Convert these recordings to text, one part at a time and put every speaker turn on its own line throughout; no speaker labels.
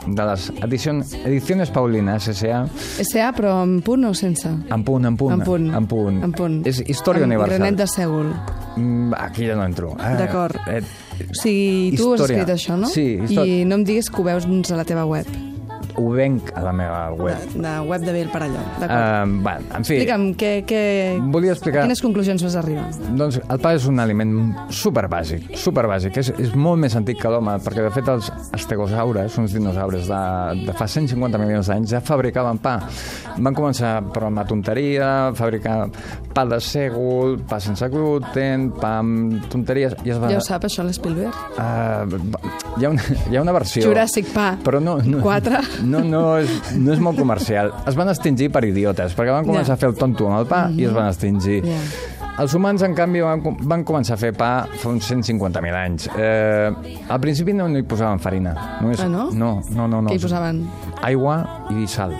de les edicions, edicions Paulines, S.A.
S.A., però amb punt o sense?
En punt, en punt.
En punt.
En punt.
En punt.
És Història
amb
Universal.
Renet de Sègol.
Mm, aquí ja no entro. Eh,
D'acord.
Eh,
O sigui, tu has
Història.
escrit això, no?
Sí, història.
I no em diguis que ho veus doncs, a la teva web,
ho venc a la meva web.
de web de Biel Parelló. D'acord.
Eh, va, en fi,
Explica'm, què, què...
Volia explicar-
Quines conclusions vas arribar?
Doncs el pa és un aliment superbàsic, superbàsic. És, és molt més antic que l'home, perquè de fet els estegosaures, uns dinosaures de, de fa 150 milions d'anys, ja fabricaven pa. Van començar per una tonteria, fabricar pa de sègol, pa sense gluten, pa amb tonteries... I es va...
Ja ho sap, això, l'Spielberg.
Uh, hi, ha una, hi ha una versió...
Jurassic Pa.
Però no, no,
Quatre.
No, no, és, no és molt comercial. Es van extingir per idiotes, perquè van començar
Ja.
yeah. a fer el tonto amb el pa mm -hmm. i es van extingir.
Ja.
Els humans, en canvi, van, com- van començar a fer pa fa uns 150.000 anys. Eh, al principi no, no hi posaven farina. Només,
Ah, no?
No, no, no. no
Què hi posaven?
Aigua i sal.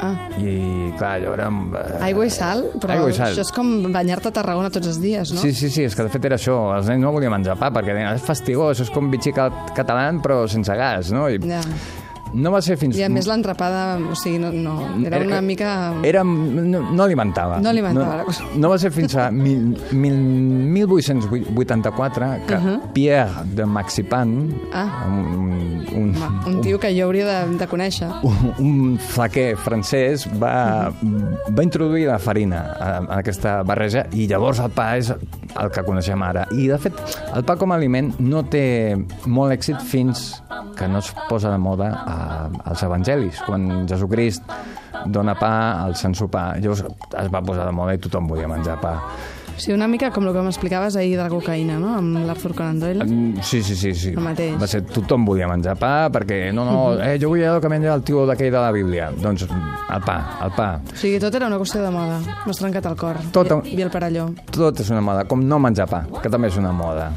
Ah,
I, clar, allò era... eh,
aigua i sal? Però
Aigua i sal.
això és com banyar-te a Tarragona tots els dies, no?
Sí, sí, sí, és que de fet era això. Els nens no volien menjar pa perquè deien, "Ah, és fastigós, és com bitxí cat- català però sense gas, no? I
Ja.
No va ser fins...
I a més l'entrapada, o sigui, no, no,
Eh,
era una mica...
Era, no, no alimentava.
No alimentava la
No,
cosa.
no va ser fins a mil, mil, 1884 que uh -huh. Pierre de Maxipan,
Uh-huh. Ah.
un, un,
Home, un tio que jo hauria de, de conèixer.
un, un flaquer francès va, va introduir la farina a- en aquesta barreja i llavors el pa és el que coneixem ara. I, de fet, el pa com a aliment no té molt èxit fins que no es posa de moda a, als evangelis, quan Jesucrist dona pa al sensopar. Llavors es va posar de moda i tothom volia menjar pa.
Sí, una mica com el que m'explicaves ahir de la cocaïna, no? Amb l'Arthur Conan Doyle.
Mm, Sí, sí, sí. sí.
El mateix.
Va ser, tothom volia menjar pa perquè, no, no, eh, jo vull el que menja el tio d'aquell de la Bíblia. Doncs el pa, el pa.
O sigui, tot era una qüestió de moda. M'has trencat el cor.
Tot un-
I, I el parelló.
Tot és una moda, com no menjar pa, que també és una moda.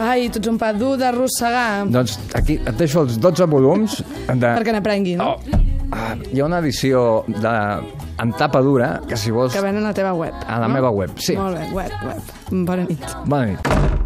Ai, tu ets un pa dur d'arrossegar. No.
Doncs aquí et deixo els 12 volums de...
Perquè n'aprengui,
Oh,
no?
ah, hi ha una edició de... en tapa dura, que si vols...
Que venen a la teva web.
A la
no?
meva web, sí.
Molt bé, web, web. Bona nit.
Bona nit.